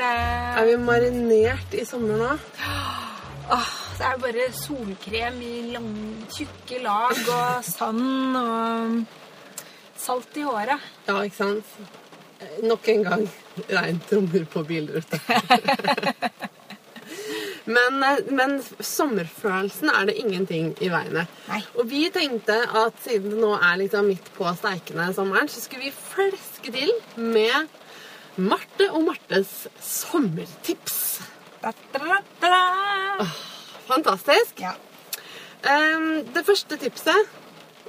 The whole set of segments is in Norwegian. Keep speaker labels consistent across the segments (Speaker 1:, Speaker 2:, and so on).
Speaker 1: er vi marinert i sommer nå.
Speaker 2: Åh, det er jo bare solkrem i lang, tjukke lag og sand og salt i håret.
Speaker 1: Ja, ikke sant? Eh, Nok en gang regntrommer på bilruta. men, eh, men sommerfølelsen er det ingenting i veien med.
Speaker 2: Nei.
Speaker 1: Og vi tenkte at siden det nå er liksom midt på steikende sommeren, så skulle vi fleske til med Marte og Martes sommertips.
Speaker 2: Da, da, da, da, da.
Speaker 1: Fantastisk.
Speaker 2: Ja.
Speaker 1: Ehm, det første tipset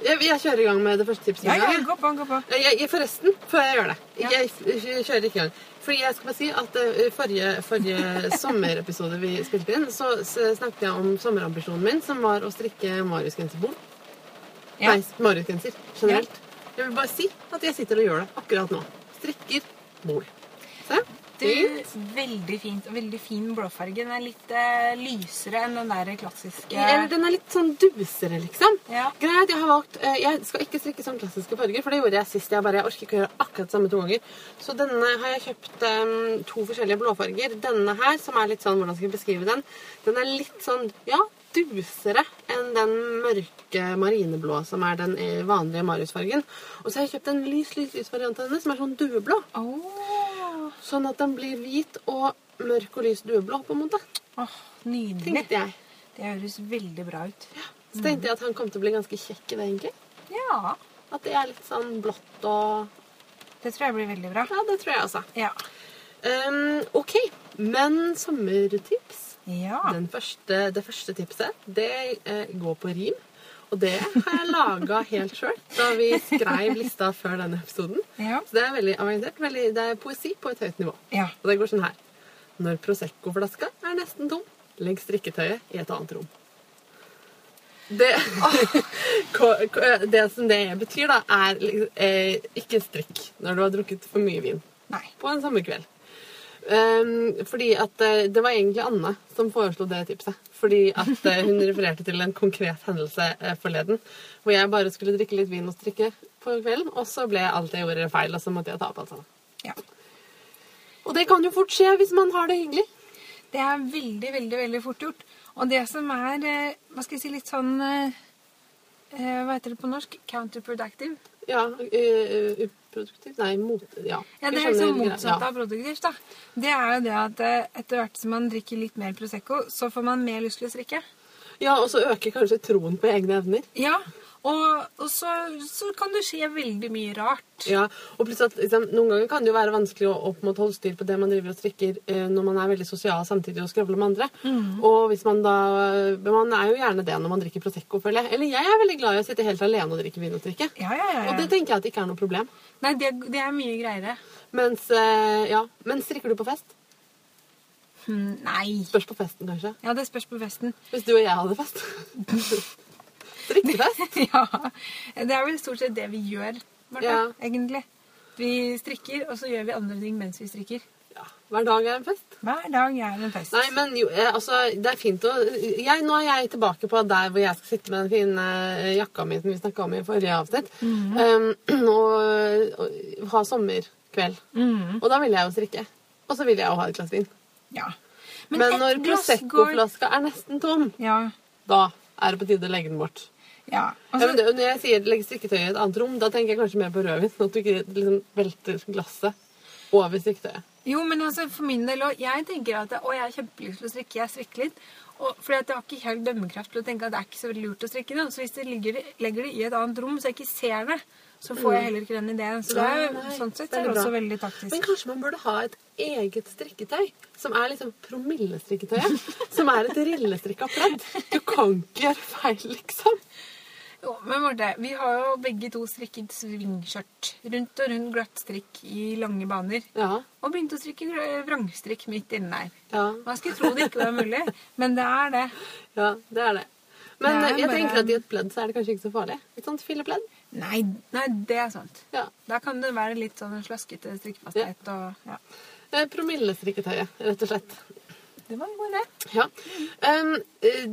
Speaker 1: jeg, jeg kjører i gang med det første tipset.
Speaker 2: Ja,
Speaker 1: med
Speaker 2: ja,
Speaker 1: en gang, jeg.
Speaker 2: gå på, gå på.
Speaker 1: Jeg, jeg, forresten, før jeg gjør det
Speaker 2: Ja.
Speaker 1: jeg, jeg kjører ikke i gang. Fordi jeg skal bare si at eh, Forrige, forrige sommerepisode vi spilte inn, så, så snakket jeg om sommerambisjonen min, som var å strikke Marius-genserbom.
Speaker 2: Ja.
Speaker 1: Nei, Marius-genser generelt. Jeg vil bare si at jeg sitter og gjør det akkurat nå. Strikker bol. Se.
Speaker 2: Du,
Speaker 1: Fint.
Speaker 2: veldig fint. og Veldig fin blåfarge. Den er litt eh, lysere enn den der klassiske.
Speaker 1: Eller den er litt sånn dusere, liksom.
Speaker 2: Ja.
Speaker 1: Greit, jeg har valgt eh, Jeg skal ikke strikke som klassiske farger, for det gjorde jeg sist. Jeg bare jeg orker ikke å gjøre akkurat det samme to ganger. Så denne har jeg kjøpt eh, to forskjellige blåfarger. Denne her, som er litt sånn Hvordan skal jeg beskrive den? Den er litt sånn Ja, dusere enn den mørke marineblå som er den eh, vanlige Marius-fargen. Og så har jeg kjøpt en lys, lys, lys variant av henne som er sånn dueblå.
Speaker 2: Åh,
Speaker 1: Sånn at den blir hvit og mørk og lys dueblå, på en måte.
Speaker 2: åh, nydelig.
Speaker 1: Tenkte jeg.
Speaker 2: Det høres veldig bra ut.
Speaker 1: Så tenkte jeg at han kom til å bli ganske kjekk i det, egentlig.
Speaker 2: Ja,
Speaker 1: At det er litt sånn blått og
Speaker 2: det tror jeg blir veldig bra.
Speaker 1: Ja, det tror jeg også.
Speaker 2: Ja.
Speaker 1: Ehm, ok, men sommertips
Speaker 2: Ja.
Speaker 1: Den første, Det første tipset det eh, går på rim. Og det har jeg laga helt sjøl da vi skrev lista før denne episoden.
Speaker 2: Ja.
Speaker 1: Så det er veldig avansert. Veldig, det er poesi på et høyt nivå.
Speaker 2: Ja.
Speaker 1: Og det går sånn her. Når Prosecco-flaska er nesten tom, legg strikketøyet i et annet rom. Det, Ko- ko- det som det betyr, da, er liksom, eh, ikke strikk når du har drukket for mye vin
Speaker 2: Nei.
Speaker 1: på en sommerkveld. Ehm, fordi at eh, Det var egentlig Anne som foreslo det tipset. Fordi at eh, Hun refererte til en konkret hendelse eh, forleden hvor jeg bare skulle drikke litt vin og strikke på kvelden, og så ble alt jeg gjorde, feil, og så måtte jeg ta opp alt sammen.
Speaker 2: Ja.
Speaker 1: Og det kan jo fort skje hvis man har det hyggelig.
Speaker 2: Det er veldig, veldig, veldig fort gjort. Og det som er, eh, hva skal jeg si, litt sånn eh, eh, Hva heter det på norsk? Counterproductive.
Speaker 1: Ja, eh, uproduktiv Nei, mot... Ja. sånn
Speaker 2: Ja,
Speaker 1: Jeg
Speaker 2: Det er liksom
Speaker 1: skjønner-
Speaker 2: motsatt av produktivt. da. Det er jo det at eh, etter hvert som man drikker litt mer Prosecco, så får man mer lyst til å strikke.
Speaker 1: Ja, og så øker kanskje troen på egne evner.
Speaker 2: Ja, og, og så, så kan det skje veldig mye rart.
Speaker 1: Ja, og pluss at liksom, Noen ganger kan det jo være vanskelig å, å på en måte holde styr på det man driver og strikker eh, når man er veldig sosial samtidig og skravler med andre.
Speaker 2: Mm.
Speaker 1: Og hvis Man da, men man er jo gjerne det når man drikker Prosecco, føler jeg. Eller jeg er veldig glad i å sitte helt alene og drikke vin og drikke.
Speaker 2: Ja, ja, ja.
Speaker 1: Og det tenker jeg at ikke er noe problem.
Speaker 2: Nei, det, det er mye greiere.
Speaker 1: Mens, eh, ja, Men strikker du på fest?
Speaker 2: Hm, nei.
Speaker 1: Spørs på festen, kanskje.
Speaker 2: Ja, det spørs på festen.
Speaker 1: Hvis du og jeg hadde fest. Strikkefest.
Speaker 2: ja. Det er vel stort sett det vi gjør, Martha,
Speaker 1: Ja.
Speaker 2: egentlig. Vi strikker, og så gjør vi andre ting mens vi strikker.
Speaker 1: Ja, hver dag er en fest.
Speaker 2: Hver dag er en fest.
Speaker 1: Nei, men jo, eh, altså, det er fint å jeg, Nå er jeg tilbake på der hvor jeg skal sitte med den fine eh, jakka mi som vi snakka om i forrige avsnitt,
Speaker 2: Mhm.
Speaker 1: um, og, og ha sommerkveld.
Speaker 2: Mhm.
Speaker 1: Og da vil jeg jo strikke. Og så vil jeg jo ha et glass vin.
Speaker 2: Mm. Ja.
Speaker 1: Men,
Speaker 2: ett
Speaker 1: når
Speaker 2: glass
Speaker 1: Prosecco-flaska er nesten tom,
Speaker 2: Ja.
Speaker 1: da er det på tide å legge den bort.
Speaker 2: ja. Altså,
Speaker 1: ja,
Speaker 2: Og så-
Speaker 1: men det, når jeg sier legge strikketøyet i et annet rom, da tenker jeg kanskje mer på rødvin. Sånn at du ikke liksom velter glasset over strikketøyet.
Speaker 2: Jo, men altså, for min del òg. Jeg tenker at å, jeg har kjempelyst til å strikke. Jeg strikker litt. Og, fordi at jeg har ikke helt dømmekraft til å tenke at det er ikke så veldig lurt å strikke det. Så hvis jeg ligger, legger det i et annet rom så jeg ikke ser det, så får jeg heller ikke den ideen. Så det er,
Speaker 1: Mm. Nei, nei,
Speaker 2: sånn sett er
Speaker 1: veldig
Speaker 2: det også
Speaker 1: bra.
Speaker 2: veldig
Speaker 1: Men
Speaker 2: taktisk.
Speaker 1: kanskje man burde ha et eget strikketøy, som er liksom promillestrikketøyet. som er et rillestrikka pledd. Du kan ikke gjøre feil, liksom.
Speaker 2: Jo, men Marte, vi har jo begge to strikket svingskjørt. Rundt og rundt glatt strikk i lange baner.
Speaker 1: Ja.
Speaker 2: Og begynte å strikke gr- vrangstrikk midt inne der.
Speaker 1: Ja,
Speaker 2: Man skulle tro det ikke var mulig, men det er det.
Speaker 1: ja det er det. Men
Speaker 2: Det er
Speaker 1: eh, jeg
Speaker 2: bare-
Speaker 1: tenker at i et pledd så er det kanskje ikke så farlig. Et sånt fillepledd.
Speaker 2: Nei, nei det er sant.
Speaker 1: Ja.
Speaker 2: Da kan det være litt sånn slaskete strikkefasthet og ja.
Speaker 1: Eh, Promillestrikketøyet, rett og slett.
Speaker 2: Det var en god idé.
Speaker 1: Ja. Um, eh,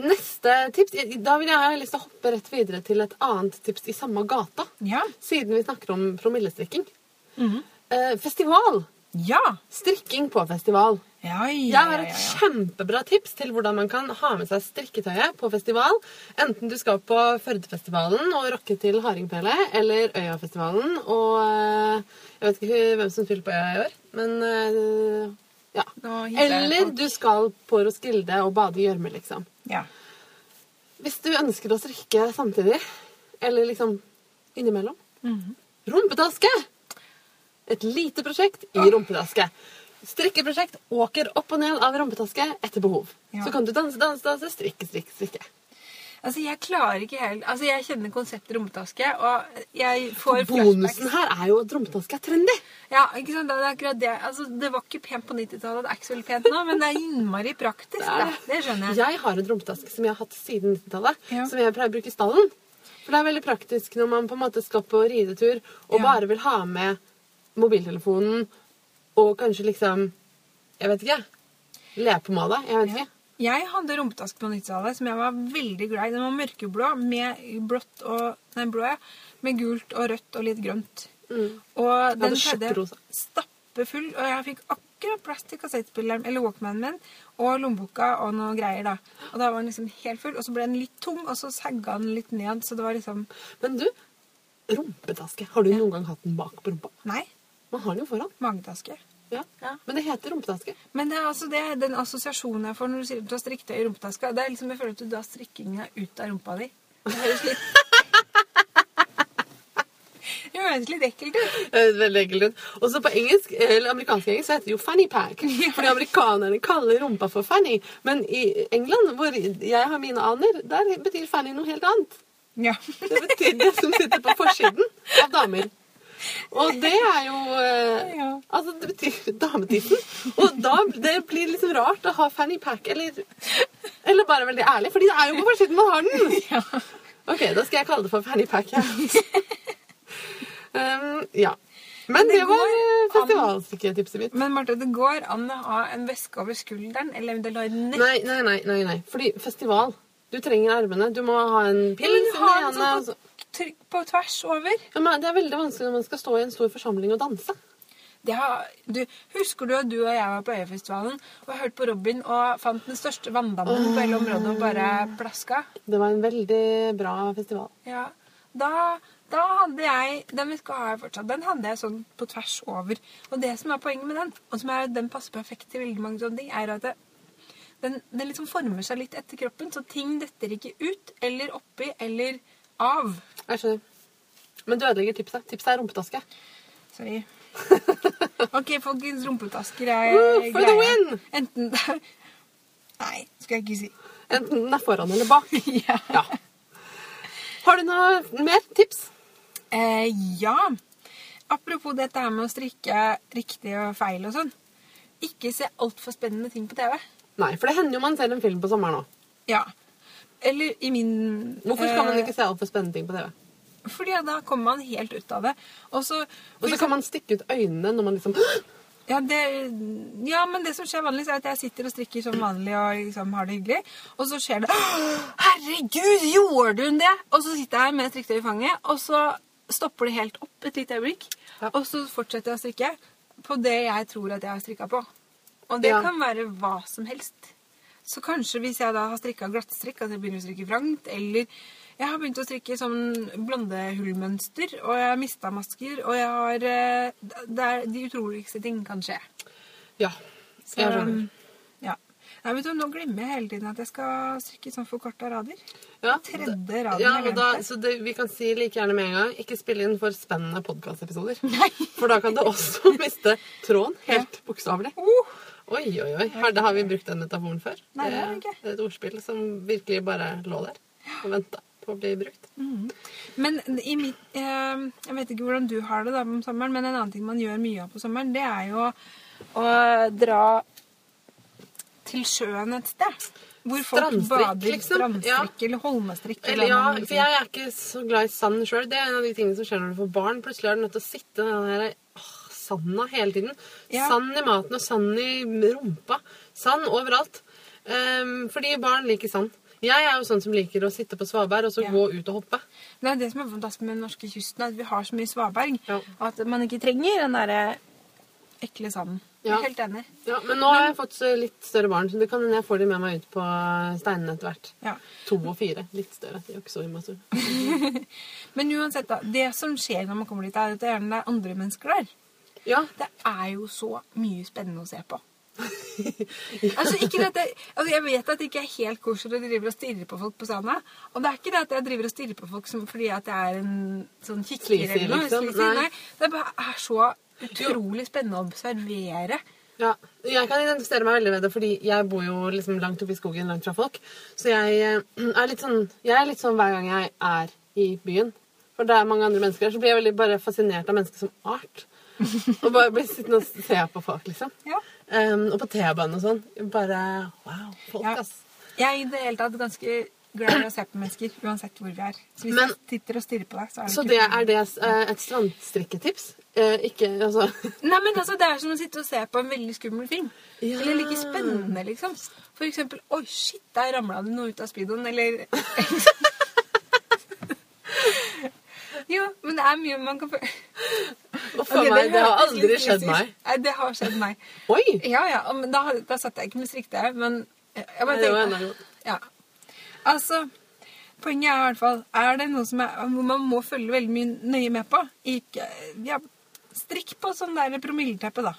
Speaker 1: neste tips Da vil jeg ha lyst til å hoppe rett videre til et annet tips i samme gata.
Speaker 2: Ja.
Speaker 1: Siden vi snakker om
Speaker 2: Mhm.
Speaker 1: promillestrikking. Eh, festival!
Speaker 2: Ja.
Speaker 1: Strikking på festival.
Speaker 2: Ja, ja,
Speaker 1: Jeg har et kjempebra tips til hvordan man kan ha med seg strikketøyet på festival. Enten du skal på Førdefestivalen og rocke til Hardingpele, eller Øyafestivalen og eh, Jeg vet ikke hvem som spiller på Øya i år, men eh, ja.
Speaker 2: Nå hitler jeg
Speaker 1: Eller
Speaker 2: folk.
Speaker 1: du skal på Roskilde og bade i gjørme, liksom.
Speaker 2: Ja.
Speaker 1: Hvis du ønsker å strikke samtidig, eller liksom innimellom
Speaker 2: Mhm.
Speaker 1: Rumpetaske! Et lite prosjekt i rumpetaske. Strikkeprosjekt åker opp og ned av rumpetaske etter behov.
Speaker 2: Ja.
Speaker 1: Så kan du danse, danse, danse, strikke, strikke, strikke.
Speaker 2: Altså, jeg klarer ikke helt Altså, jeg kjenner konseptet rumpetaske, og jeg får flashbacks.
Speaker 1: Bonusen her er jo at rumpetaske er trendy!
Speaker 2: Ja, ikke sant? Det er akkurat det. Altså, det var ikke pent på 90-tallet, det er ikke så veldig pent nå, men det er innmari praktisk.
Speaker 1: Det er
Speaker 2: Det, det skjønner jeg.
Speaker 1: Jeg har en rumpetaske som jeg har hatt siden 90-tallet,
Speaker 2: Ja.
Speaker 1: som jeg pleier å bruke i stallen. For det er veldig praktisk når man på en måte skal på ridetur og
Speaker 2: Ja.
Speaker 1: bare vil ha med mobiltelefonen og kanskje liksom Jeg vet ikke. Lepepomade. Jeg vet ikke.
Speaker 2: Jeg hadde rumpetaske på 90-tallet som jeg var veldig glad i. Den var mørkeblå med blått og Nei, blå, ja. Med gult og rødt og litt grønt. Og den
Speaker 1: Mm. hadde
Speaker 2: skjedde
Speaker 1: sjokkrosa.
Speaker 2: stappfull, og jeg fikk akkurat plass til kassettspilleren, eller Walkmanen min, og lommeboka og noe greier, da. Og da var den liksom helt full, og så ble den litt tung, og så sagga den litt ned, så det var liksom
Speaker 1: Men du, rumpetaske. Har du noen gang hatt den bak på rumpa?
Speaker 2: Nei,
Speaker 1: Man har den jo foran.
Speaker 2: magetaske.
Speaker 1: Ja.
Speaker 2: Ja.
Speaker 1: Men det heter rumpetaske.
Speaker 2: Men det er altså det, den assosiasjonen jeg får når du sier at du har strikketøy i rumpetaska. Det er liksom jeg føler at du drar strikkinga ut av rumpa di. Det høres litt Det høres litt ekkelt ut.
Speaker 1: Eh, Det høres Veldig ekkelt ut. Og så på engelsk, eh, eller amerikansk engelsk, så heter det jo fanny pack. Fordi amerikanerne kaller rumpa for fanny. Men i England, hvor jeg har mine aner, der betyr fanny noe helt annet.
Speaker 2: Ja.
Speaker 1: Det betyr det som sitter på forsiden av damer. Og det er jo eh,
Speaker 2: Ja.
Speaker 1: Altså, det betyr dametissen. Og da det blir liksom rart å ha fanny pack, eller Eller bare veldig ærlig, fordi det er jo på forsiden man har den.
Speaker 2: ja.
Speaker 1: Ok, da skal jeg kalle det for fanny pack. Ja. um, ja. Men det
Speaker 2: det
Speaker 1: var
Speaker 2: går
Speaker 1: eh,
Speaker 2: an-
Speaker 1: festivalstykketipset mitt.
Speaker 2: Men Marte, det går an å ha en veske over skulderen eller eventuelt ha et nett.
Speaker 1: Nei, nei, nei, nei, nei. Fordi festival Du trenger armene. Du må ha en pils
Speaker 2: Eller
Speaker 1: i den
Speaker 2: ha en
Speaker 1: ene, og
Speaker 2: sånn
Speaker 1: så-
Speaker 2: på, trykk på tvers over.
Speaker 1: Ja, men Det er veldig vanskelig når man skal stå i en stor forsamling og danse.
Speaker 2: Det har, du, husker du at du og jeg var på Øyafestivalen og hørte på Robin og fant den største vanndammen på hele området og bare plaska?
Speaker 1: Det var en veldig bra festival.
Speaker 2: Ja, da, da hadde jeg Den vi skal ha her fortsatt, den hadde jeg sånn på tvers over. Og det som er poenget med den, og som er den passer perfekt til veldig mange sånne ting, er at det, den, den liksom former seg litt etter kroppen, så ting detter ikke ut eller oppi eller av.
Speaker 1: Jeg skjønner. Men du ødelegger tipset. Tipset er rumpetaske.
Speaker 2: Sorry. OK, folkens, rumpetasker er
Speaker 1: Woo, for the
Speaker 2: greia.
Speaker 1: win!
Speaker 2: Enten det er Nei, skal jeg ikke si.
Speaker 1: Enten den er foran eller bak.
Speaker 2: ja.
Speaker 1: Ja. Har du noe mer tips?
Speaker 2: Eh, ja. Apropos dette her med å strikke riktig og feil og sånn. Ikke se altfor spennende ting på TV.
Speaker 1: Nei, for det hender jo man ser en film på sommeren òg.
Speaker 2: Ja. Eller i min
Speaker 1: Hvorfor skal man
Speaker 2: eh,
Speaker 1: ikke se altfor spennende ting på TV?
Speaker 2: Fordi da kommer man helt ut av det. Og så
Speaker 1: Og så kan man stikke ut øynene når man liksom
Speaker 2: ja, det, ja, men det som skjer vanligvis, er at jeg sitter og strikker som vanlig og liksom har det hyggelig, og så skjer det Herregud, gjorde hun det?! Og så sitter jeg med strikketøy i fanget, og så stopper det helt opp et lite øyeblikk,
Speaker 1: Ja.
Speaker 2: og så fortsetter jeg å strikke på det jeg tror at jeg har strikka på. Og det
Speaker 1: Ja.
Speaker 2: kan være hva som helst. Så kanskje hvis jeg da har strikka glattstrikk, at jeg begynner å strikke vrangt, eller jeg har begynt å strikke sånn blondehullmønster, og jeg har mista masker, og jeg har eh, Det er de utroligste ting kan skje.
Speaker 1: Ja.
Speaker 2: Så,
Speaker 1: Jeg skjønner.
Speaker 2: ja. Nei, vet du, nå glemmer jeg hele tiden at jeg skal strikke sånn forkorta rader.
Speaker 1: Ja,
Speaker 2: Tredje
Speaker 1: da-
Speaker 2: raden
Speaker 1: ja,
Speaker 2: jeg
Speaker 1: og da,
Speaker 2: glemte.
Speaker 1: så det, Vi kan si like gjerne med en gang ikke spille inn for spennende podkastepisoder. For da kan du også miste tråden helt bokstavelig.
Speaker 2: Oh,
Speaker 1: Oi, oi, oi. Her, da har vi brukt den metaforen før.
Speaker 2: Nei, det har vi
Speaker 1: er
Speaker 2: ikke.
Speaker 1: et ordspill som virkelig bare lå der og venta på å bli brukt.
Speaker 2: Men i mitt, eh, jeg vet ikke hvordan du har det da om sommeren, men en annen ting man gjør mye av på sommeren, det er jo å eh, dra til sjøen et sted. Hvor folk
Speaker 1: Strandstrikk,
Speaker 2: bader
Speaker 1: liksom.
Speaker 2: strandstrikk eller holmestrikk.
Speaker 1: Eller ja,
Speaker 2: hva man vil
Speaker 1: for
Speaker 2: si.
Speaker 1: jeg er ikke så glad i sand sjøl. Det er en av de tingene som skjer når du får barn. Plutselig er du nødt til å sitte i den der åh, sanda hele tiden.
Speaker 2: Ja.
Speaker 1: Sand i maten og sand i rumpa. Sand overalt. Ehm, fordi barn liker sand. Jeg er jo sånn som liker å sitte på svaberg og så
Speaker 2: Ja.
Speaker 1: gå ut og hoppe.
Speaker 2: Det er det som er fantastisk med den norske kysten, at vi har så mye svaberg.
Speaker 1: Ja.
Speaker 2: At man ikke trenger den derre eh, ekle sanden. Jeg
Speaker 1: Ja.
Speaker 2: er helt enig.
Speaker 1: Ja, men nå har jeg fått så litt større barn, så det kan hende jeg får de med meg ut på steinene etter hvert.
Speaker 2: Ja.
Speaker 1: To og fire. Litt større. De er jo ikke så immature.
Speaker 2: Men uansett, da. Det som skjer når man kommer dit, er at det er gjerne andre mennesker der.
Speaker 1: Ja.
Speaker 2: Det er jo så mye spennende å se på. altså, ikke det at jeg, altså, jeg vet at det ikke er helt koselig å drive og stirre på folk på stranda. Og det er ikke det at jeg driver og stirrer på folk som, fordi at jeg er en sånn kikker
Speaker 1: Sleazy,
Speaker 2: eller noe.
Speaker 1: liksom.
Speaker 2: sleazy.
Speaker 1: Nei.
Speaker 2: Nei. Det bare er så utrolig spennende å observere.
Speaker 1: Ja, jeg kan identifisere meg veldig med det, fordi jeg bor jo liksom langt oppe i skogen, langt fra folk. Så jeg eh, er litt sånn, jeg er litt sånn hver gang jeg er i byen, for det er mange andre mennesker, her, så blir jeg veldig bare fascinert av mennesker som art. Og bare blir sittende og se på folk, liksom.
Speaker 2: Ja.
Speaker 1: Em, og på T-banen og sånn. Bare wow, folk,
Speaker 2: Ja.
Speaker 1: ass.
Speaker 2: Jeg er i det hele tatt ganske glad i å se på mennesker, uansett hvor vi er. Så hvis
Speaker 1: Men-
Speaker 2: jeg sitter og stirrer på deg, så er det
Speaker 1: Så
Speaker 2: ikke
Speaker 1: det
Speaker 2: noe-
Speaker 1: er det, eh, et strandstrikketips. Eh, ikke altså
Speaker 2: Nei, men altså, Det er som å sitte og se på en veldig skummel film.
Speaker 1: Ja.
Speaker 2: Eller like spennende, liksom. For eksempel Oi, shit, der ramla det noe ut av speedoen, eller Jo, men det er mye man kan få
Speaker 1: Å, faen
Speaker 2: Ok,
Speaker 1: meg, det har
Speaker 2: hørtes
Speaker 1: aldri
Speaker 2: litt
Speaker 1: skjedd
Speaker 2: fysisk-
Speaker 1: meg.
Speaker 2: Nei, det har skjedd meg.
Speaker 1: Oi!
Speaker 2: Ja, ja, og- men da, had- da satt jeg ikke med strikte, men jeg jeg bare
Speaker 1: Nei, det var
Speaker 2: tenkte-
Speaker 1: enda godt.
Speaker 2: Ja. Altså, poenget er i hvert fall Er det noe som er, hvor man må følge veldig mye nøye med på? Ikke, ja, strikk på sånn der promilleteppe, da.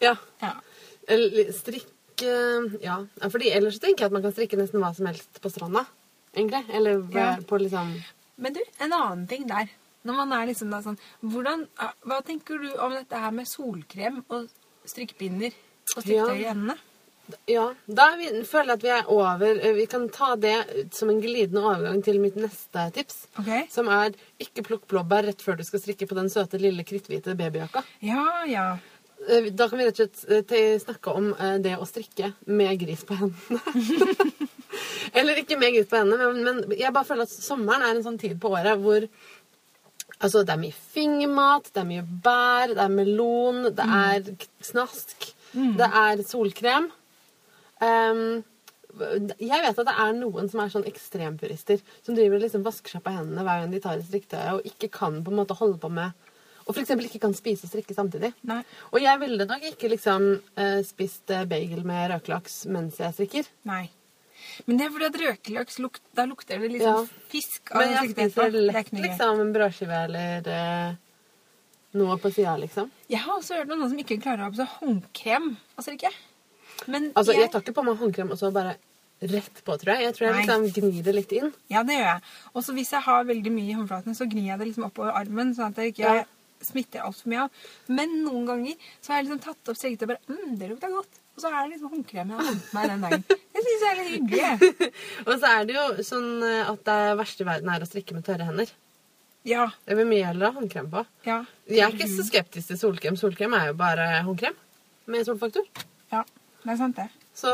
Speaker 1: Ja.
Speaker 2: Ja.
Speaker 1: Eller strikk eh, Ja, Ja, fordi ellers så tenker jeg at man kan strikke nesten hva som helst på stranda. Egentlig. Eller ved-
Speaker 2: Ja.
Speaker 1: på liksom
Speaker 2: Men du, en annen ting der. Når man er liksom da sånn hvordan, Hva tenker du om dette her med solkrem og strikkepinner og strikketøy i
Speaker 1: Ja.
Speaker 2: endene?
Speaker 1: Ja. Da er vi, føler jeg at vi er over eh, Vi kan ta det som en glidende overgang til mitt neste tips.
Speaker 2: Ok.
Speaker 1: Som er ikke plukk blåbær rett før du skal strikke på den søte, lille kritthvite babyjakka.
Speaker 2: Ja, ja.
Speaker 1: Eh, Da kan vi rett og slett eh, te- snakke om eh, det å strikke med gris på hendene. Eller ikke med gris på hendene, men, men jeg bare føler at sommeren er en sånn tid på året hvor altså, det er mye fingermat, det er mye bær, det er melon, det er k- snask, det er solkrem. Ehm, jeg vet at det er noen som er sånn ekstrempurister, som driver og liksom vasker seg på hendene hver gang de tar i strikketøyet, og ikke kan på en måte holde på med Og f.eks. ikke kan spise og strikke samtidig.
Speaker 2: Nei.
Speaker 1: Og jeg ville nok ikke liksom eh, spist eh, bagel med røkelaks mens jeg strikker.
Speaker 2: Nei. Men det er fordi at røkelaks luk, da lukter det liksom
Speaker 1: Ja.
Speaker 2: fisk av
Speaker 1: Men jeg
Speaker 2: strikketøy
Speaker 1: spiser
Speaker 2: etterpå. Det er
Speaker 1: lett
Speaker 2: ikke noe gøy.
Speaker 1: liksom en brødskive eller eh, noe på sida, liksom.
Speaker 2: Jeg har også hørt om noen som ikke klarer å ha på seg håndkrem og strikke. Men
Speaker 1: Altså, jeg tar ikke på meg håndkrem og så bare rett på, tror jeg. Jeg tror jeg
Speaker 2: Nei.
Speaker 1: liksom gnir det litt inn.
Speaker 2: Ja, det gjør jeg. Og så hvis jeg har veldig mye i håndflaten, så gnir jeg det liksom oppover armen, sånn at jeg ikke
Speaker 1: Ja.
Speaker 2: smitter altfor mye av. Men noen ganger så har jeg liksom tatt opp strikketøy og bare mm, det lukter godt. Og så er det liksom håndkrem jeg har håndtet meg den dagen. Det syns jeg er litt hyggelig. jeg.
Speaker 1: Og så er det jo sånn eh, at det verste i verden er å strikke med tørre hender.
Speaker 2: Ja.
Speaker 1: Jeg vil mye heller ha håndkrem på.
Speaker 2: Ja.
Speaker 1: Jeg er ikke så
Speaker 2: Mhm.
Speaker 1: skeptisk til solkrem. Solkrem er jo bare håndkrem med solfaktor.
Speaker 2: ja. Det er sant, det.
Speaker 1: Så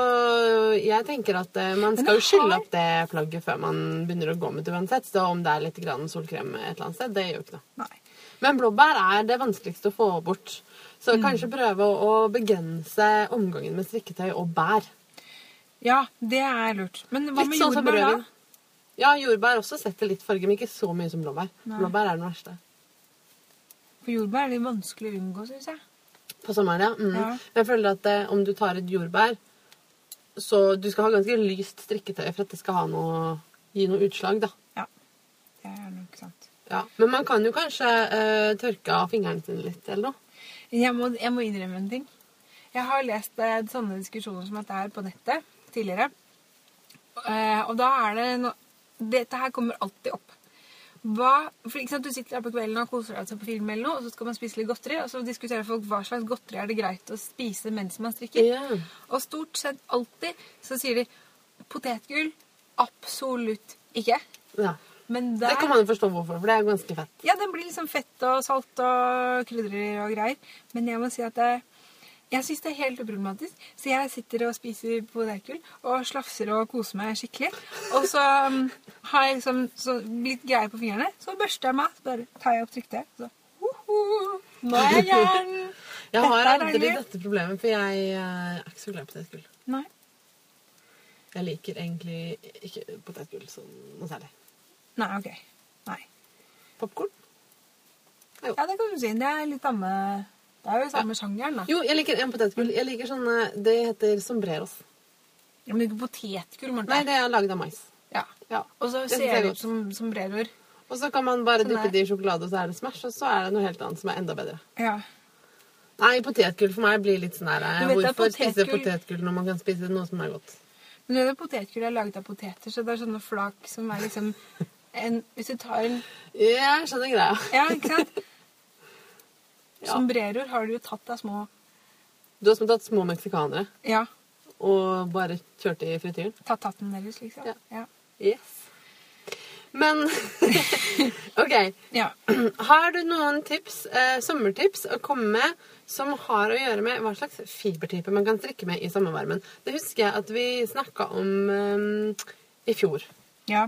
Speaker 1: jeg tenker at eh, man
Speaker 2: Men
Speaker 1: skal
Speaker 2: det
Speaker 1: jo skylle
Speaker 2: har-
Speaker 1: opp det plagget før man begynner å gå med det uansett. Så om det er litt grann solkrem et eller annet sted, det gjør jo ikke noe.
Speaker 2: Nei.
Speaker 1: Men blåbær er det vanskeligste å få bort. Så
Speaker 2: Mm.
Speaker 1: kanskje prøve å å begrense omgangen med strikketøy og bær.
Speaker 2: Ja, det er lurt. Men hva
Speaker 1: Litt
Speaker 2: med
Speaker 1: sånn som
Speaker 2: jordbær, da?
Speaker 1: brødvin. Ja, jordbær også setter litt farge, men ikke så mye som blåbær.
Speaker 2: Nei.
Speaker 1: Blåbær er den verste.
Speaker 2: For jordbær er litt vanskelig å unngå, syns jeg.
Speaker 1: På sommeren, ja. Mm.
Speaker 2: Ja.
Speaker 1: Men Jeg føler at eh, om du tar et jordbær, så du skal ha ganske lyst strikketøy for at det skal ha noe, gi noe utslag, da.
Speaker 2: Ja. Det er nok sant.
Speaker 1: Ja, Men man kan jo kanskje eh, tørke av fingrene sine litt, eller noe.
Speaker 2: Jeg må, jeg må innrømme en ting. Jeg har lest eh, sånne diskusjoner som dette her på nettet tidligere. Eh, og da er det no Dette her kommer alltid opp. Hva, for ikke sant, Du sitter her på kvelden og koser deg altså på film, eller noe, og så skal man spise litt godteri. Og så diskuterer folk hva slags godteri er det greit å spise mens man strikker.
Speaker 1: Ja.
Speaker 2: Og stort sett alltid så sier de potetgull absolutt ikke.
Speaker 1: Ja.
Speaker 2: Men
Speaker 1: Det
Speaker 2: der
Speaker 1: kan man jo forstå hvorfor, for det er jo ganske fett.
Speaker 2: ja, den blir liksom fett og salt og krydder og greier. Men jeg må si at jeg, jeg syns det er helt uproblematisk. Så jeg sitter og spiser potetgull og slafser og koser meg skikkelig. Og så um, har jeg liksom så litt greie på fingrene. Så børster jeg meg, så bare tar jeg opp trykket. Så hoho, nå er jeg jern!
Speaker 1: Jeg
Speaker 2: Dette
Speaker 1: har
Speaker 2: er
Speaker 1: aldri
Speaker 2: deilig.
Speaker 1: dette problemet, for jeg eh, er ikke så glad i potetgull.
Speaker 2: Nei.
Speaker 1: Jeg liker egentlig ikke potetgull sånn noe særlig.
Speaker 2: Nei, OK. Nei.
Speaker 1: Popkorn?
Speaker 2: Ja, det kan du si. Det er litt amme... Det er jo samme sjangeren, da.
Speaker 1: Jo, jeg liker en potetgull. Jeg liker sånne Det heter sombreros.
Speaker 2: Ja, Men ikke potetgull, Marte.
Speaker 1: Nei, det er laget av mais.
Speaker 2: Ja.
Speaker 1: Ja.
Speaker 2: Og så
Speaker 1: Det synes
Speaker 2: ser
Speaker 1: jeg er
Speaker 2: det
Speaker 1: godt.
Speaker 2: ut som sombreroer.
Speaker 1: Og så kan man bare
Speaker 2: Sånn
Speaker 1: dyppe
Speaker 2: der.
Speaker 1: det i sjokolade, og så er det Smash, og så er det noe helt annet som er enda bedre.
Speaker 2: Ja.
Speaker 1: Nei, potetgull for meg blir litt sånn her eh,
Speaker 2: Du vet at
Speaker 1: Hvorfor spise
Speaker 2: potetgull-
Speaker 1: potetgull når man kan spise noe som er godt?
Speaker 2: Men det potetgull er laget av poteter, så det er sånne flak som er liksom en, Hvis du tar en
Speaker 1: Jeg skjønner greia.
Speaker 2: Ja, ikke sant?
Speaker 1: Ja.
Speaker 2: Sombreroer har du jo tatt av små
Speaker 1: Du har som tatt små meksikanere
Speaker 2: Ja.
Speaker 1: og bare kjørt det i frityren.
Speaker 2: Tatt hatten deres, liksom.
Speaker 1: Ja.
Speaker 2: Ja.
Speaker 1: Yes. Men OK.
Speaker 2: ja.
Speaker 1: Har du noen tips, eh, sommertips å komme med som har å gjøre med hva slags fibertype man kan strikke med i sommervarmen? Det husker jeg at vi snakka om eh, i fjor.
Speaker 2: ja.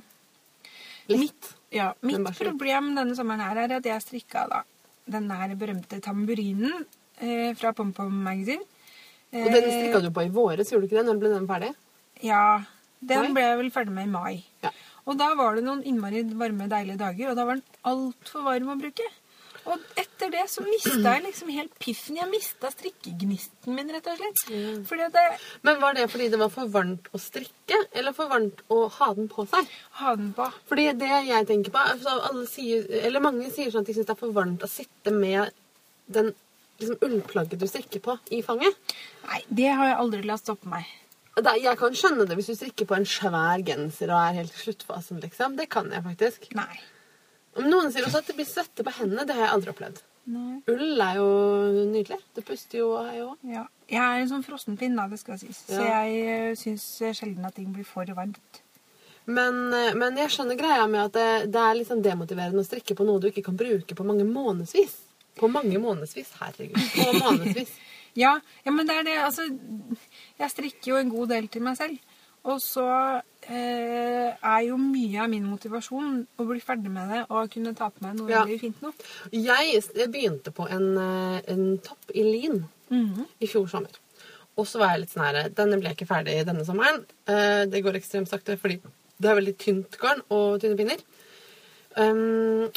Speaker 1: Litt.
Speaker 2: Ja, mitt
Speaker 1: Men bare så vidt.
Speaker 2: problem denne sommeren her er at jeg strikka da, den her berømte tamburinen eh, fra Pompom Magazine. Eh,
Speaker 1: Og den strikka du på i våres, gjorde du ikke det? Når ble den ferdig?
Speaker 2: Ja. Den
Speaker 1: Mai?
Speaker 2: ble jeg vel ferdig med i mai.
Speaker 1: Ja.
Speaker 2: Og da var det noen innmari varme, deilige dager, og da var den altfor varm å bruke. Og etter det så mista jeg liksom helt piffen. Jeg mista strikkegnisten min, rett og slett. Fordi at jeg
Speaker 1: Men var det fordi det var for varmt å strikke, eller for varmt å ha den på seg?
Speaker 2: hadde den på.
Speaker 1: Fordi det jeg tenker på, er- så alle sier, eller mange sier sånn at de syns det er for varmt å sitte med den liksom, ullplagget du strikker på, i fanget.
Speaker 2: Nei, det har jeg aldri latt stoppe meg.
Speaker 1: Og Da, jeg kan skjønne det hvis du strikker på en svær genser og er helt i sluttfasen, liksom. Det kan jeg faktisk.
Speaker 2: Nei.
Speaker 1: Om noen sier også at det blir svette på hendene, det har jeg aldri opplevd.
Speaker 2: Nei.
Speaker 1: Ull er jo nydelig. Det puster jo og er jo
Speaker 2: Ja. Jeg er en sånn frossenpinn, da, det skal sies. Så
Speaker 1: Ja.
Speaker 2: jeg eh, syns sjelden at ting blir for varmt.
Speaker 1: men, eh, men jeg skjønner greia med at det, det er litt sånn demotiverende å strikke på noe du ikke kan bruke på mange månedsvis. På mange månedsvis. Herregud. På månedsvis.
Speaker 2: Ja, ja, men det er det. Altså, jeg strikker jo en god del til meg selv. Og så eh, er jo mye av min motivasjon å bli ferdig med det og kunne ta på meg noe
Speaker 1: Ja.
Speaker 2: veldig fint nå.
Speaker 1: Jeg s- jeg begynte på en, eh, en topp i lin i fjor sommer. Og så var jeg litt sånn her Denne ble ikke ferdig denne sommeren. Eh, Det går ekstremt sakte fordi det er veldig tynt garn og tynne pinner. Um,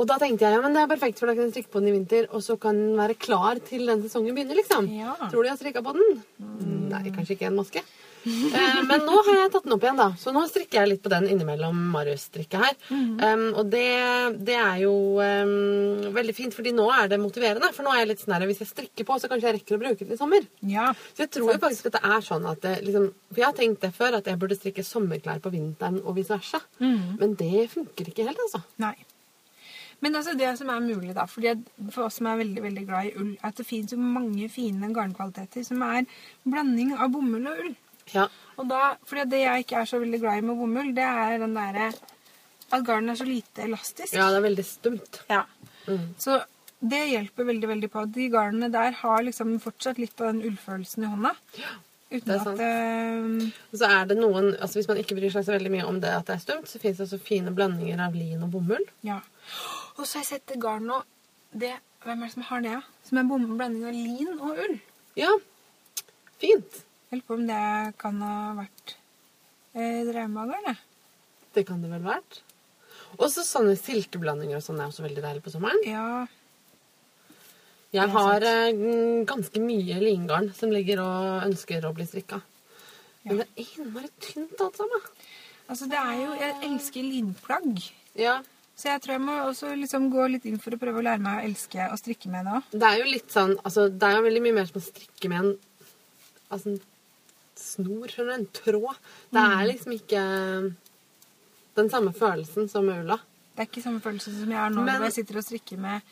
Speaker 1: og da tenkte jeg ja, men det er perfekt, for da kan jeg strikke på den i vinter, og så kan den være klar til den sesongen begynner, liksom.
Speaker 2: Ja.
Speaker 1: Tror du jeg har strikka på den? Nei, kanskje ikke en maske. Eh, men nå har jeg tatt den opp igjen, da. Så nå strikker jeg litt på den innimellom Marius-strikket her. Um, og det, det er jo um, veldig fint, fordi nå er det motiverende. For nå er jeg litt sånn her, hvis jeg strikker på, så kanskje jeg rekker å bruke den i sommer.
Speaker 2: Ja.
Speaker 1: Så jeg tror jo faktisk at det er sånn at det, liksom, For jeg har tenkt det før, at jeg burde strikke sommerklær på vinteren og vice versa. Men det funker ikke helt, altså.
Speaker 2: Nei. Men altså det som er mulig, da, fordi at for oss som er veldig veldig glad i ull, at det finnes jo mange fine garnkvaliteter som er blanding av bomull og ull.
Speaker 1: Ja.
Speaker 2: Og da, fordi det jeg ikke er så veldig glad i med bomull, det er den derre at garnet er så lite elastisk.
Speaker 1: ja, det er veldig stumt.
Speaker 2: Ja.
Speaker 1: Mm.
Speaker 2: Så det hjelper veldig veldig på. De garnene der har liksom fortsatt litt av den ullfølelsen i hånda.
Speaker 1: er
Speaker 2: Uten
Speaker 1: sant.
Speaker 2: at eh,
Speaker 1: Og Så er det noen, altså Hvis man ikke bryr seg så veldig mye om det at det er stumt, så fins det også fine blandinger av lin og bomull.
Speaker 2: Ja. Og så har jeg sett det garn nå. Det, hvem er det som har det? da? Som er bom- blanding av lin og ull.
Speaker 1: Ja, fint.
Speaker 2: Jeg lurer på om det kan ha vært eh, Draumagarn, jeg.
Speaker 1: Det kan det vel vært. Og så sånne silkeblandinger og sånn er også veldig deilig på sommeren.
Speaker 2: Ja.
Speaker 1: Jeg
Speaker 2: er
Speaker 1: har eh, mm, ganske mye lingarn som ligger og ønsker å bli strikka. Men det er innmari tynt alt sammen.
Speaker 2: Altså, det er jo Jeg elsker linplagg.
Speaker 1: Ja,
Speaker 2: Så jeg tror jeg må også liksom gå litt inn for å prøve å lære meg å elske å strikke med det òg.
Speaker 1: Det er jo litt sånn altså, Det er jo veldig mye mer som å strikke med en altså, en snor, skjønner du. En tråd. Det er liksom ikke den samme følelsen som med ulla.
Speaker 2: Det er ikke samme følelse som jeg har nå
Speaker 1: Men-
Speaker 2: hvor jeg sitter og strikker med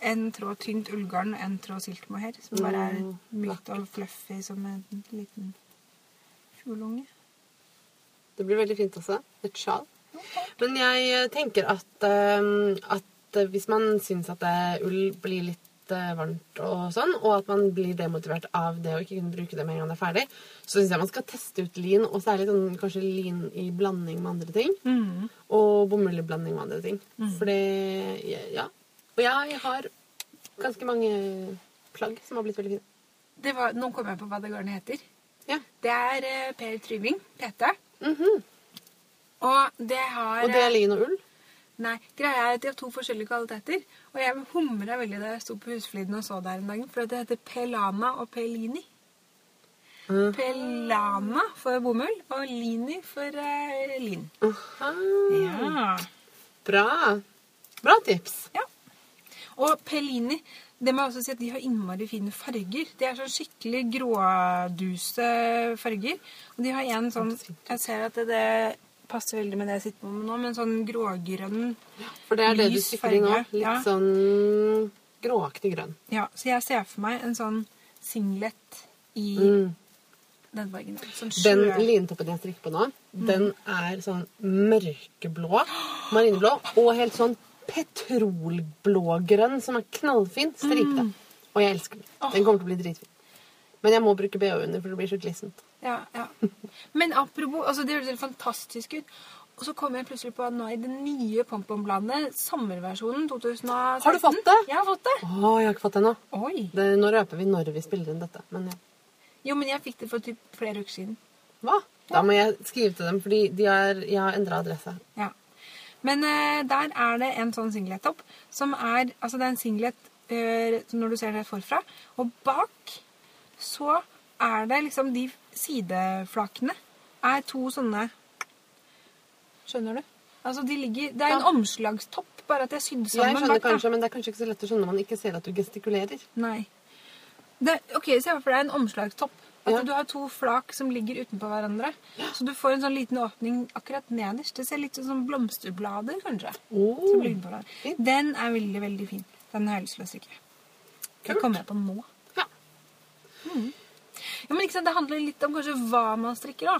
Speaker 2: en tråd tynt ullgarn og en tråd silkemohair, som bare er
Speaker 1: Mm,
Speaker 2: mykt og fluffy som en liten kjolunge.
Speaker 1: Det blir veldig fint også. Et sjal. Men jeg eh, tenker at, eh, at eh, hvis man syns at eh, ull blir litt eh, varmt og sånn, og at man blir demotivert av det å ikke kunne bruke det med en gang det er ferdig, så syns jeg man skal teste ut lin, og særlig sånn, kanskje lin i blanding med andre ting.
Speaker 2: Mm.
Speaker 1: Og bomullblanding med andre ting. For det Ja. Og jeg har ganske mange plagg som har blitt veldig fine.
Speaker 2: Det var, nå kom jeg på hva det garnet heter.
Speaker 1: Ja.
Speaker 2: Det er eh, Per Tryving, PT. Og det har
Speaker 1: Mhm. Og det
Speaker 2: eh,
Speaker 1: er lin og ull.
Speaker 2: Nei, greia er at de har to forskjellige kvaliteter. Og jeg humra veldig da jeg sto på Husfliden og så der en dag, for det heter Pelana og Pelini.
Speaker 1: Mhm.
Speaker 2: Pelana for bomull og Lini for eh, lin.
Speaker 1: Aha.
Speaker 2: Ah.
Speaker 1: Bra. Bra tips.
Speaker 2: Ja. Og Pelini, det må jeg også si at de har innmari fine farger. De er sånn skikkelig gråduse farger. Og de har en sånn Jeg ser at det, det passer veldig med det jeg sitter på med nå, men sånn grågrønn
Speaker 1: For det er det du
Speaker 2: Lys
Speaker 1: stikker i nå.
Speaker 2: farge,
Speaker 1: Litt
Speaker 2: ja.
Speaker 1: sånn gråaktig grønn.
Speaker 2: Ja, så jeg ser for meg en sånn singlet i
Speaker 1: Mm.
Speaker 2: den fargen. der. Sånn
Speaker 1: Den
Speaker 2: sjø-
Speaker 1: lintoppen jeg strikker på nå,
Speaker 2: Mm.
Speaker 1: den er sånn mørkeblå, marineblå, og helt sånn petrolblågrønn, som er knallfin, stripete.
Speaker 2: Mm.
Speaker 1: Og jeg elsker den. Den kommer til å bli dritfin. Men jeg må bruke BH under, for det blir så glissent.
Speaker 2: Ja, ja. Men apropos, altså det høres helt fantastisk ut. Og så kom jeg plutselig på at nå i det nye Pompom-bladet, sommerversjonen 2016
Speaker 1: Har du fått det?
Speaker 2: Jeg har fått det.
Speaker 1: Å, jeg har ikke fått det ennå.
Speaker 2: Oi.
Speaker 1: Det- Nå røper vi når vi spiller inn dette. Men ja.
Speaker 2: Jo, men jeg fikk det for typ flere uker siden.
Speaker 1: hva? Da må jeg skrive til dem, fordi de er, jeg har endra adresse.
Speaker 2: Ja. Men eh, der er det en sånn singlet-topp som er Altså, det er en singlet eh, som når du ser det forfra, og bak så er det liksom de sideflakene er to sånne Skjønner du? Altså, de ligger Det er en
Speaker 1: Ja.
Speaker 2: omslagstopp, bare at jeg sydde
Speaker 1: Jeg
Speaker 2: sammen
Speaker 1: skjønner
Speaker 2: bak. da.
Speaker 1: kanskje, men det er kanskje ikke så lett å skjønne når man ikke ser at du gestikulerer.
Speaker 2: Nei. Det, ok, Se for deg en omslagstopp. At
Speaker 1: Ja.
Speaker 2: Du har to flak som ligger utenpå hverandre. Så du får en sånn liten åpning akkurat nederst. Det ser litt ut som blomsterblader, kanskje.
Speaker 1: Oh,
Speaker 2: Som ligger utenpå hverandre.
Speaker 1: fint.
Speaker 2: Den er veldig, veldig fin. Den har jeg lyst til å strikke. Det
Speaker 1: Kult.
Speaker 2: kom jeg på nå. Mm.
Speaker 1: Ja.
Speaker 2: Ja, men ikke sant, Det handler litt om kanskje hva man strikker. da.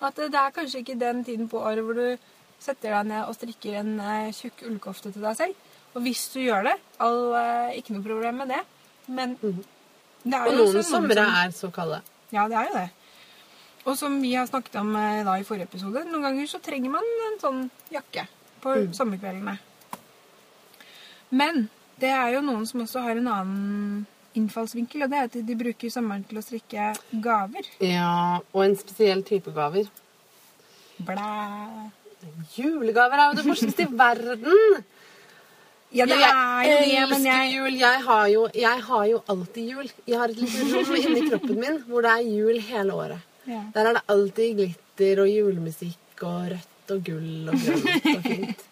Speaker 2: At eh, Det er kanskje ikke den tiden på året hvor du setter deg ned og strikker en eh, tjukk ullkofte til deg selv. Og hvis du gjør det, all, eh, ikke noe problem med det. Men det er sånn.
Speaker 1: Og
Speaker 2: jo også
Speaker 1: noen somre
Speaker 2: som-
Speaker 1: er så kalde.
Speaker 2: Ja, det er jo det. Og som vi har snakket om eh, da i forrige episode, noen ganger så trenger man en sånn jakke på sommerkveldene. Men det er jo noen som også har en annen innfallsvinkel, og det er at de bruker sommeren til å strikke gaver.
Speaker 1: Ja, og en spesiell type gaver.
Speaker 2: Blæ!
Speaker 1: Julegaver er jo det morsomste i verden!
Speaker 2: Ja, det er jo det, men
Speaker 1: elsker
Speaker 2: jeg
Speaker 1: jul. Jeg har, jo, jeg har jo alltid jul. Jeg har et lite rom inni kroppen min hvor det er jul hele året.
Speaker 2: Ja.
Speaker 1: Der er det alltid glitter og julemusikk og rødt og gull og grønt og fint.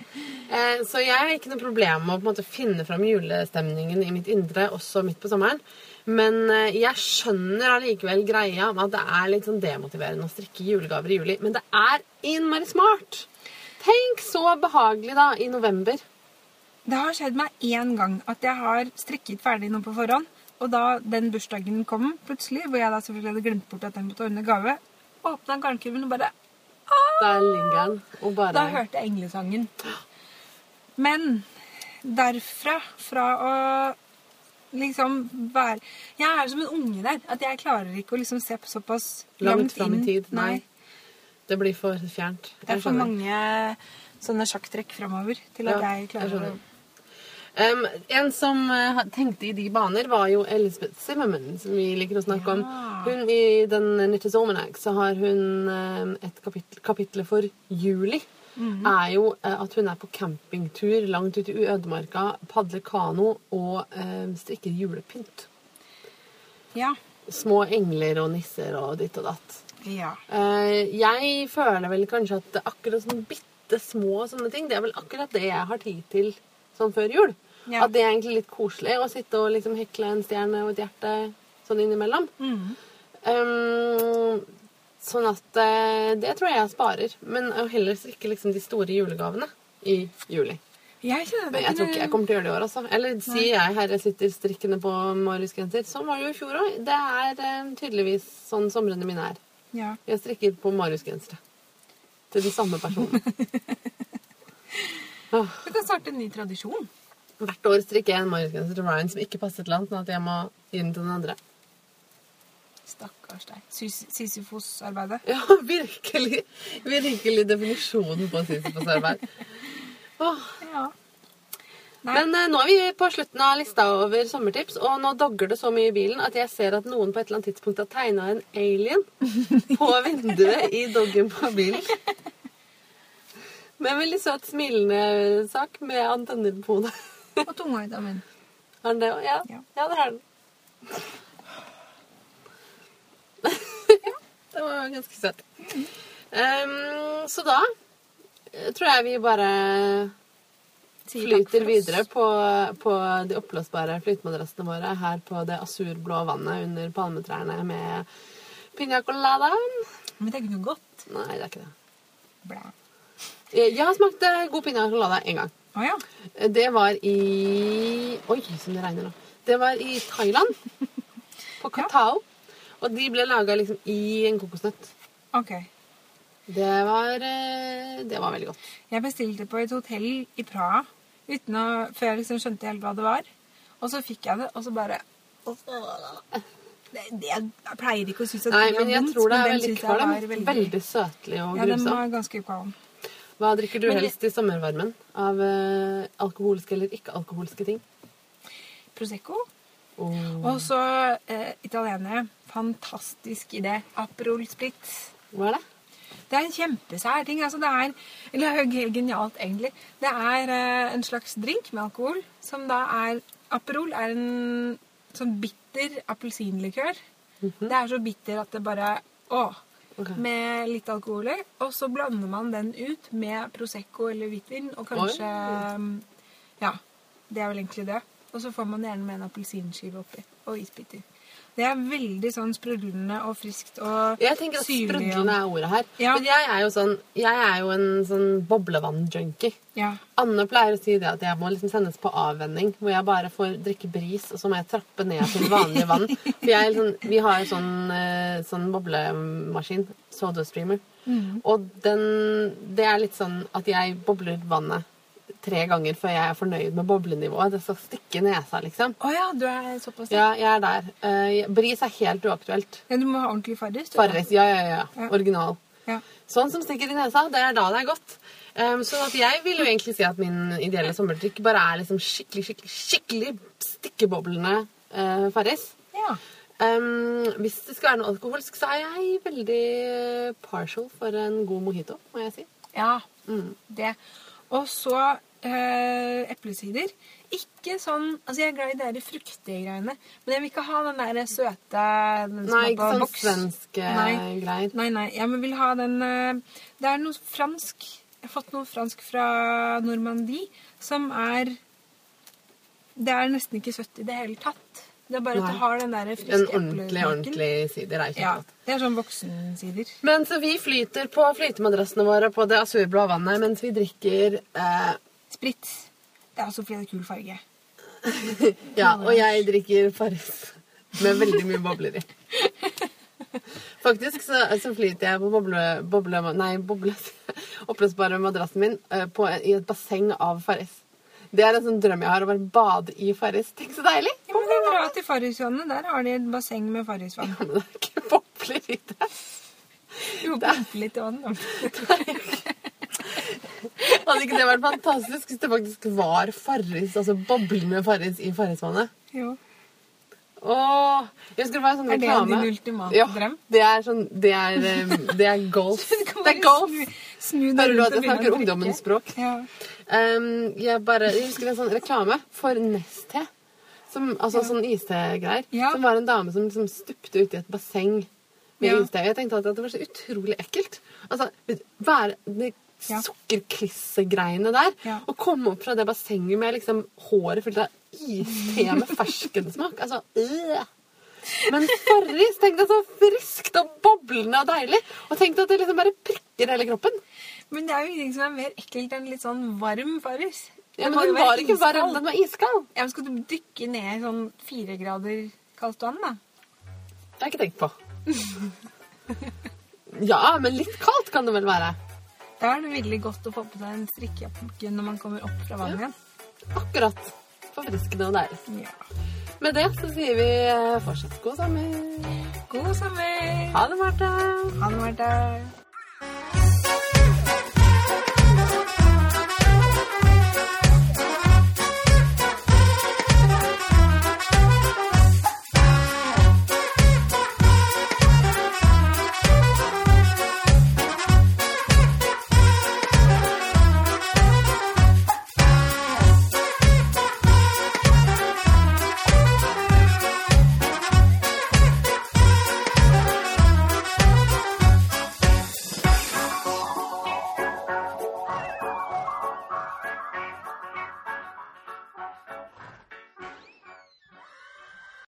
Speaker 1: Eh, Så jeg har ikke noe problem med å på en måte finne fram julestemningen i mitt indre også midt på sommeren. Men eh, jeg skjønner allikevel greia med at det er litt sånn demotiverende å strikke julegaver i juli. Men det er innmari smart! Tenk så behagelig, da, i november.
Speaker 2: Det har skjedd meg én gang at jeg har strikket ferdig noe på forhånd, og da den bursdagen kom plutselig, hvor jeg da selvfølgelig hadde glemt bort at jeg måtte ordne gave, åpna garnkurven og bare
Speaker 1: Der ligger den og bare
Speaker 2: Da hørte jeg englesangen. Men derfra, fra å liksom være Jeg er som en unge der. At jeg klarer ikke å liksom se på såpass
Speaker 1: Langt
Speaker 2: langt,
Speaker 1: fram i
Speaker 2: inn.
Speaker 1: tid, nei.
Speaker 2: Nei.
Speaker 1: Det blir for fjernt.
Speaker 2: Det er
Speaker 1: Jeg
Speaker 2: for
Speaker 1: skjønner.
Speaker 2: mange sånne sjakktrekk framover til at
Speaker 1: Ja,
Speaker 2: jeg
Speaker 1: jeg
Speaker 2: klarer å
Speaker 1: skjønner. Um, en som eh, ha- tenkte i de baner, var jo Elizabeth Zimmerman, som vi liker å snakke om.
Speaker 2: Ja.
Speaker 1: Hun I den Knitter's Almanac så har hun eh, et kapittel, kapittel for juli.
Speaker 2: Mhm.
Speaker 1: Er jo eh, at hun er på campingtur langt ute i ødemarka, padler kano og eh, strikker julepynt.
Speaker 2: Ja.
Speaker 1: Små engler og nisser og ditt og datt.
Speaker 2: ja.
Speaker 1: Eh, jeg føler vel kanskje at det er akkurat sånn bitte små sånne ting, det er vel akkurat det jeg har tid til sånn før jul.
Speaker 2: Ja.
Speaker 1: At det er egentlig litt koselig å sitte og liksom hekle en stjerne og et hjerte sånn innimellom.
Speaker 2: Mhm.
Speaker 1: Um, sånn at eh, det tror jeg jeg sparer. Men å heller strikke liksom de store julegavene i juli.
Speaker 2: Jeg kjenner
Speaker 1: Men jeg tror ikke jeg kommer til å gjøre det i år, altså. Eller sier jeg herre sitter strikkende på Marius-genser. Sånn var det jo i fjor òg. Det er eh, tydeligvis sånn somrene mine er.
Speaker 2: Ja.
Speaker 1: Jeg strikker på Marius-gensere. Til den samme personen. Åh,
Speaker 2: Du kan starte en ny tradisjon.
Speaker 1: Hvert år strikker jeg en Marius-genser til Ryan som ikke passer til han, sånn at jeg må gi den til den andre.
Speaker 2: Stakkars deg. Sys- Sisyfos-arbeidet.
Speaker 1: Ja, virkelig, virkelig definisjonen på sisyfosarbeid. Åh,
Speaker 2: Ja. Nei.
Speaker 1: Men eh, nå er vi på slutten av lista over sommertips, og nå dogger det så mye i bilen at jeg ser at noen på et eller annet tidspunkt har tegna en alien på vinduet i doggen på bilen. Med en veldig søt, smilende sak med antenner på hodet.
Speaker 2: Og tunga i dammen.
Speaker 1: Har den det òg? Ja.
Speaker 2: Ja.
Speaker 1: ja, det har den. ja, det var ganske søt.
Speaker 2: Mm.
Speaker 1: Ehm, så da eh, tror jeg vi bare
Speaker 2: Sier takk for
Speaker 1: flyter
Speaker 2: oss.
Speaker 1: videre på, på de oppblåsbare flytemadrassene våre her på det asurblå vannet under palmetrærne med piña coladaen.
Speaker 2: Men det er ikke noe godt.
Speaker 1: Nei, det er ikke det.
Speaker 2: Blæ.
Speaker 1: Jeg jeg har smakt eh, god piña colada én gang.
Speaker 2: Å ja.
Speaker 1: Det var i Oi, som det regner nå. Det var i Thailand. På Katao. Og de ble laga liksom i en kokosnøtt.
Speaker 2: Ok.
Speaker 1: Det var, eh, det var veldig godt.
Speaker 2: Jeg bestilte på et hotell i Praha uten å, før jeg liksom skjønte helt hva det var. Og så fikk jeg det, og så bare det, det, Jeg pleier ikke å synes at
Speaker 1: Nei,
Speaker 2: det er
Speaker 1: men jeg
Speaker 2: vondt,
Speaker 1: tror det er
Speaker 2: men den
Speaker 1: veldig
Speaker 2: synes jeg
Speaker 1: kvalm.
Speaker 2: var
Speaker 1: Veldig,
Speaker 2: Veldig.
Speaker 1: søtlig og
Speaker 2: Ja, den
Speaker 1: grusom.
Speaker 2: var ganske kvalm.
Speaker 1: Hva drikker du
Speaker 2: Men-
Speaker 1: helst i sommervarmen? Av eh, alkoholske eller ikke-alkoholske ting?
Speaker 2: Prosecco.
Speaker 1: Åh,
Speaker 2: Og så eh, italienere. Fantastisk idé. Aperol Spritz.
Speaker 1: hva er det?
Speaker 2: Det er en kjempesær ting. Altså det er, eller det er jo helt genialt, egentlig. Det er eh, en slags drink med alkohol som da er Aperol er en sånn bitter appelsinlikør. Det er så bitter at det bare Å!
Speaker 1: Mhm. Ok.
Speaker 2: Med litt alkohol i. Og så blander man den ut med Prosecco eller hvitvin og kanskje Ja. Det er vel egentlig det. Og så får man gjerne med en appelsinskive oppi og isbiter. Det er veldig sånn sprudlende og friskt og
Speaker 1: Jeg tenker at
Speaker 2: syrlig og-
Speaker 1: sprudlende er ordet her.
Speaker 2: Ja.
Speaker 1: Men jeg er jo sånn Jeg er jo en sånn boblevann-junkie.
Speaker 2: Ja.
Speaker 1: Anne pleier å si det at jeg må liksom sendes på avvenning, hvor jeg bare får drikke bris, og så må jeg trappe ned til vanlig vann. For jeg er sånn, vi har jo sånn, eh, sånn boblemaskin, Soda Streamer, og den, det er litt sånn at jeg bobler vannet tre ganger før jeg er fornøyd med boblenivået. Det skal stikke i nesa, liksom.
Speaker 2: Å ja, du er såpass ja.
Speaker 1: Ja, jeg er der. Eh, bris er helt uaktuelt.
Speaker 2: Du må ha ordentlig farris. du, da.
Speaker 1: Farris, ja, ja, ja.
Speaker 2: Ja.
Speaker 1: ja. Original.
Speaker 2: Ja.
Speaker 1: Sånn som stikker i nesa, det er da det er godt. Um, sånn at jeg vil jo egentlig si at min ideelle sommerdrikk bare er liksom skikkelig, skikkelig, skikkelig stikkeboblende uh, Farris.
Speaker 2: ja.
Speaker 1: Um, hvis det skal være noe alkoholsk, så er jeg veldig eh, partial for en god mojito, må jeg si.
Speaker 2: Ja,
Speaker 1: Mm.
Speaker 2: det. Og så eh, eplesider. Ikke sånn Altså, jeg er glad i de der fruktige greiene, men jeg vil ikke ha den der søte den som
Speaker 1: Nei,
Speaker 2: er på
Speaker 1: ikke sånn
Speaker 2: boks.
Speaker 1: svenske
Speaker 2: Nei.
Speaker 1: greier.
Speaker 2: Nei, nei. Jeg vil ha den eh, Det er noe fransk Jeg har fått noe fransk fra Normandie som er Det er nesten ikke søtt i det hele tatt. Det er bare at
Speaker 1: Nei.
Speaker 2: det har den der friske
Speaker 1: En ordentlig,
Speaker 2: eplesmaken.
Speaker 1: ordentlig sider er
Speaker 2: Ja.
Speaker 1: kjempegodt.
Speaker 2: Det er sånn voksensider.
Speaker 1: Men så vi flyter på flytemadrassene våre på det asurblå vannet mens vi drikker eh,
Speaker 2: Spritz. Det er også fordi det er kul farge.
Speaker 1: Ja, og jeg drikker Farris med veldig mye bobler i. Faktisk så, så flyter jeg på boble, boble Nei, boble Oppblåsbare madrassen min eh, på, i et basseng av Farris. Det er en sånn drøm jeg har, å bare bade i Farris. Tenk så deilig!
Speaker 2: Ja, men det er bra til Farrisvannet. Der har de et basseng med Farrisvann.
Speaker 1: Men det er ikke bobler i det.
Speaker 2: Du må pumpe litt vann. da.
Speaker 1: Hadde ikke det vært fantastisk hvis det faktisk var Farris, altså boblende Farris i Farrisvannet?
Speaker 2: Jo.
Speaker 1: Åh, jeg husker det var en sånn
Speaker 2: Er det
Speaker 1: reklame.
Speaker 2: din ultimate drøm?
Speaker 1: Det er sånn Det er, eh, det er golf.
Speaker 2: Du kan
Speaker 1: Det er
Speaker 2: bare
Speaker 1: golf.
Speaker 2: snu- Snu deg
Speaker 1: Hører du
Speaker 2: rundt
Speaker 1: at jeg
Speaker 2: og begynne å
Speaker 1: snakker
Speaker 2: drikke.
Speaker 1: ungdommens språk?
Speaker 2: Ja.
Speaker 1: Ehm, jeg, bare, jeg husker en sånn reklame for Nest-te. Som, altså sånn iste-greier.
Speaker 2: Ja.
Speaker 1: Som var en dame som liksom stupte uti et basseng med
Speaker 2: Ja.
Speaker 1: iste. Jeg tenkte alltid at det var så utrolig ekkelt. Altså, vet du, være de
Speaker 2: Ja.
Speaker 1: sukkerklissegreiene der,
Speaker 2: Ja.
Speaker 1: og komme opp fra det bassenget med liksom håret fylt av iste med ferskensmak. Altså, øh. Men Farris, tenk deg så friskt og boblende og deilig. Og tenk deg at det liksom bare prikker hele kroppen.
Speaker 2: Men det er jo ingenting som er mer ekkelt enn litt sånn varm Farris.
Speaker 1: Ja,
Speaker 2: Det
Speaker 1: men
Speaker 2: må jo
Speaker 1: den
Speaker 2: være
Speaker 1: var ikke varm,
Speaker 2: iskald.
Speaker 1: den var iskald.
Speaker 2: Ja, men skal du dykke ned i sånn fire grader kaldt vann, da?
Speaker 1: Det har jeg ikke tenkt på. Ja, men litt kaldt kan det vel være.
Speaker 2: Da er det veldig godt å få på seg en strikkejakke når man kommer opp fra vannet igjen.
Speaker 1: Akkurat. Forfriskende og deilig.
Speaker 2: Ja.
Speaker 1: Med det så sier vi eh, fortsatt god sommer.
Speaker 2: God sommer!
Speaker 1: Ha det, Marte.
Speaker 2: Ha det, Marte.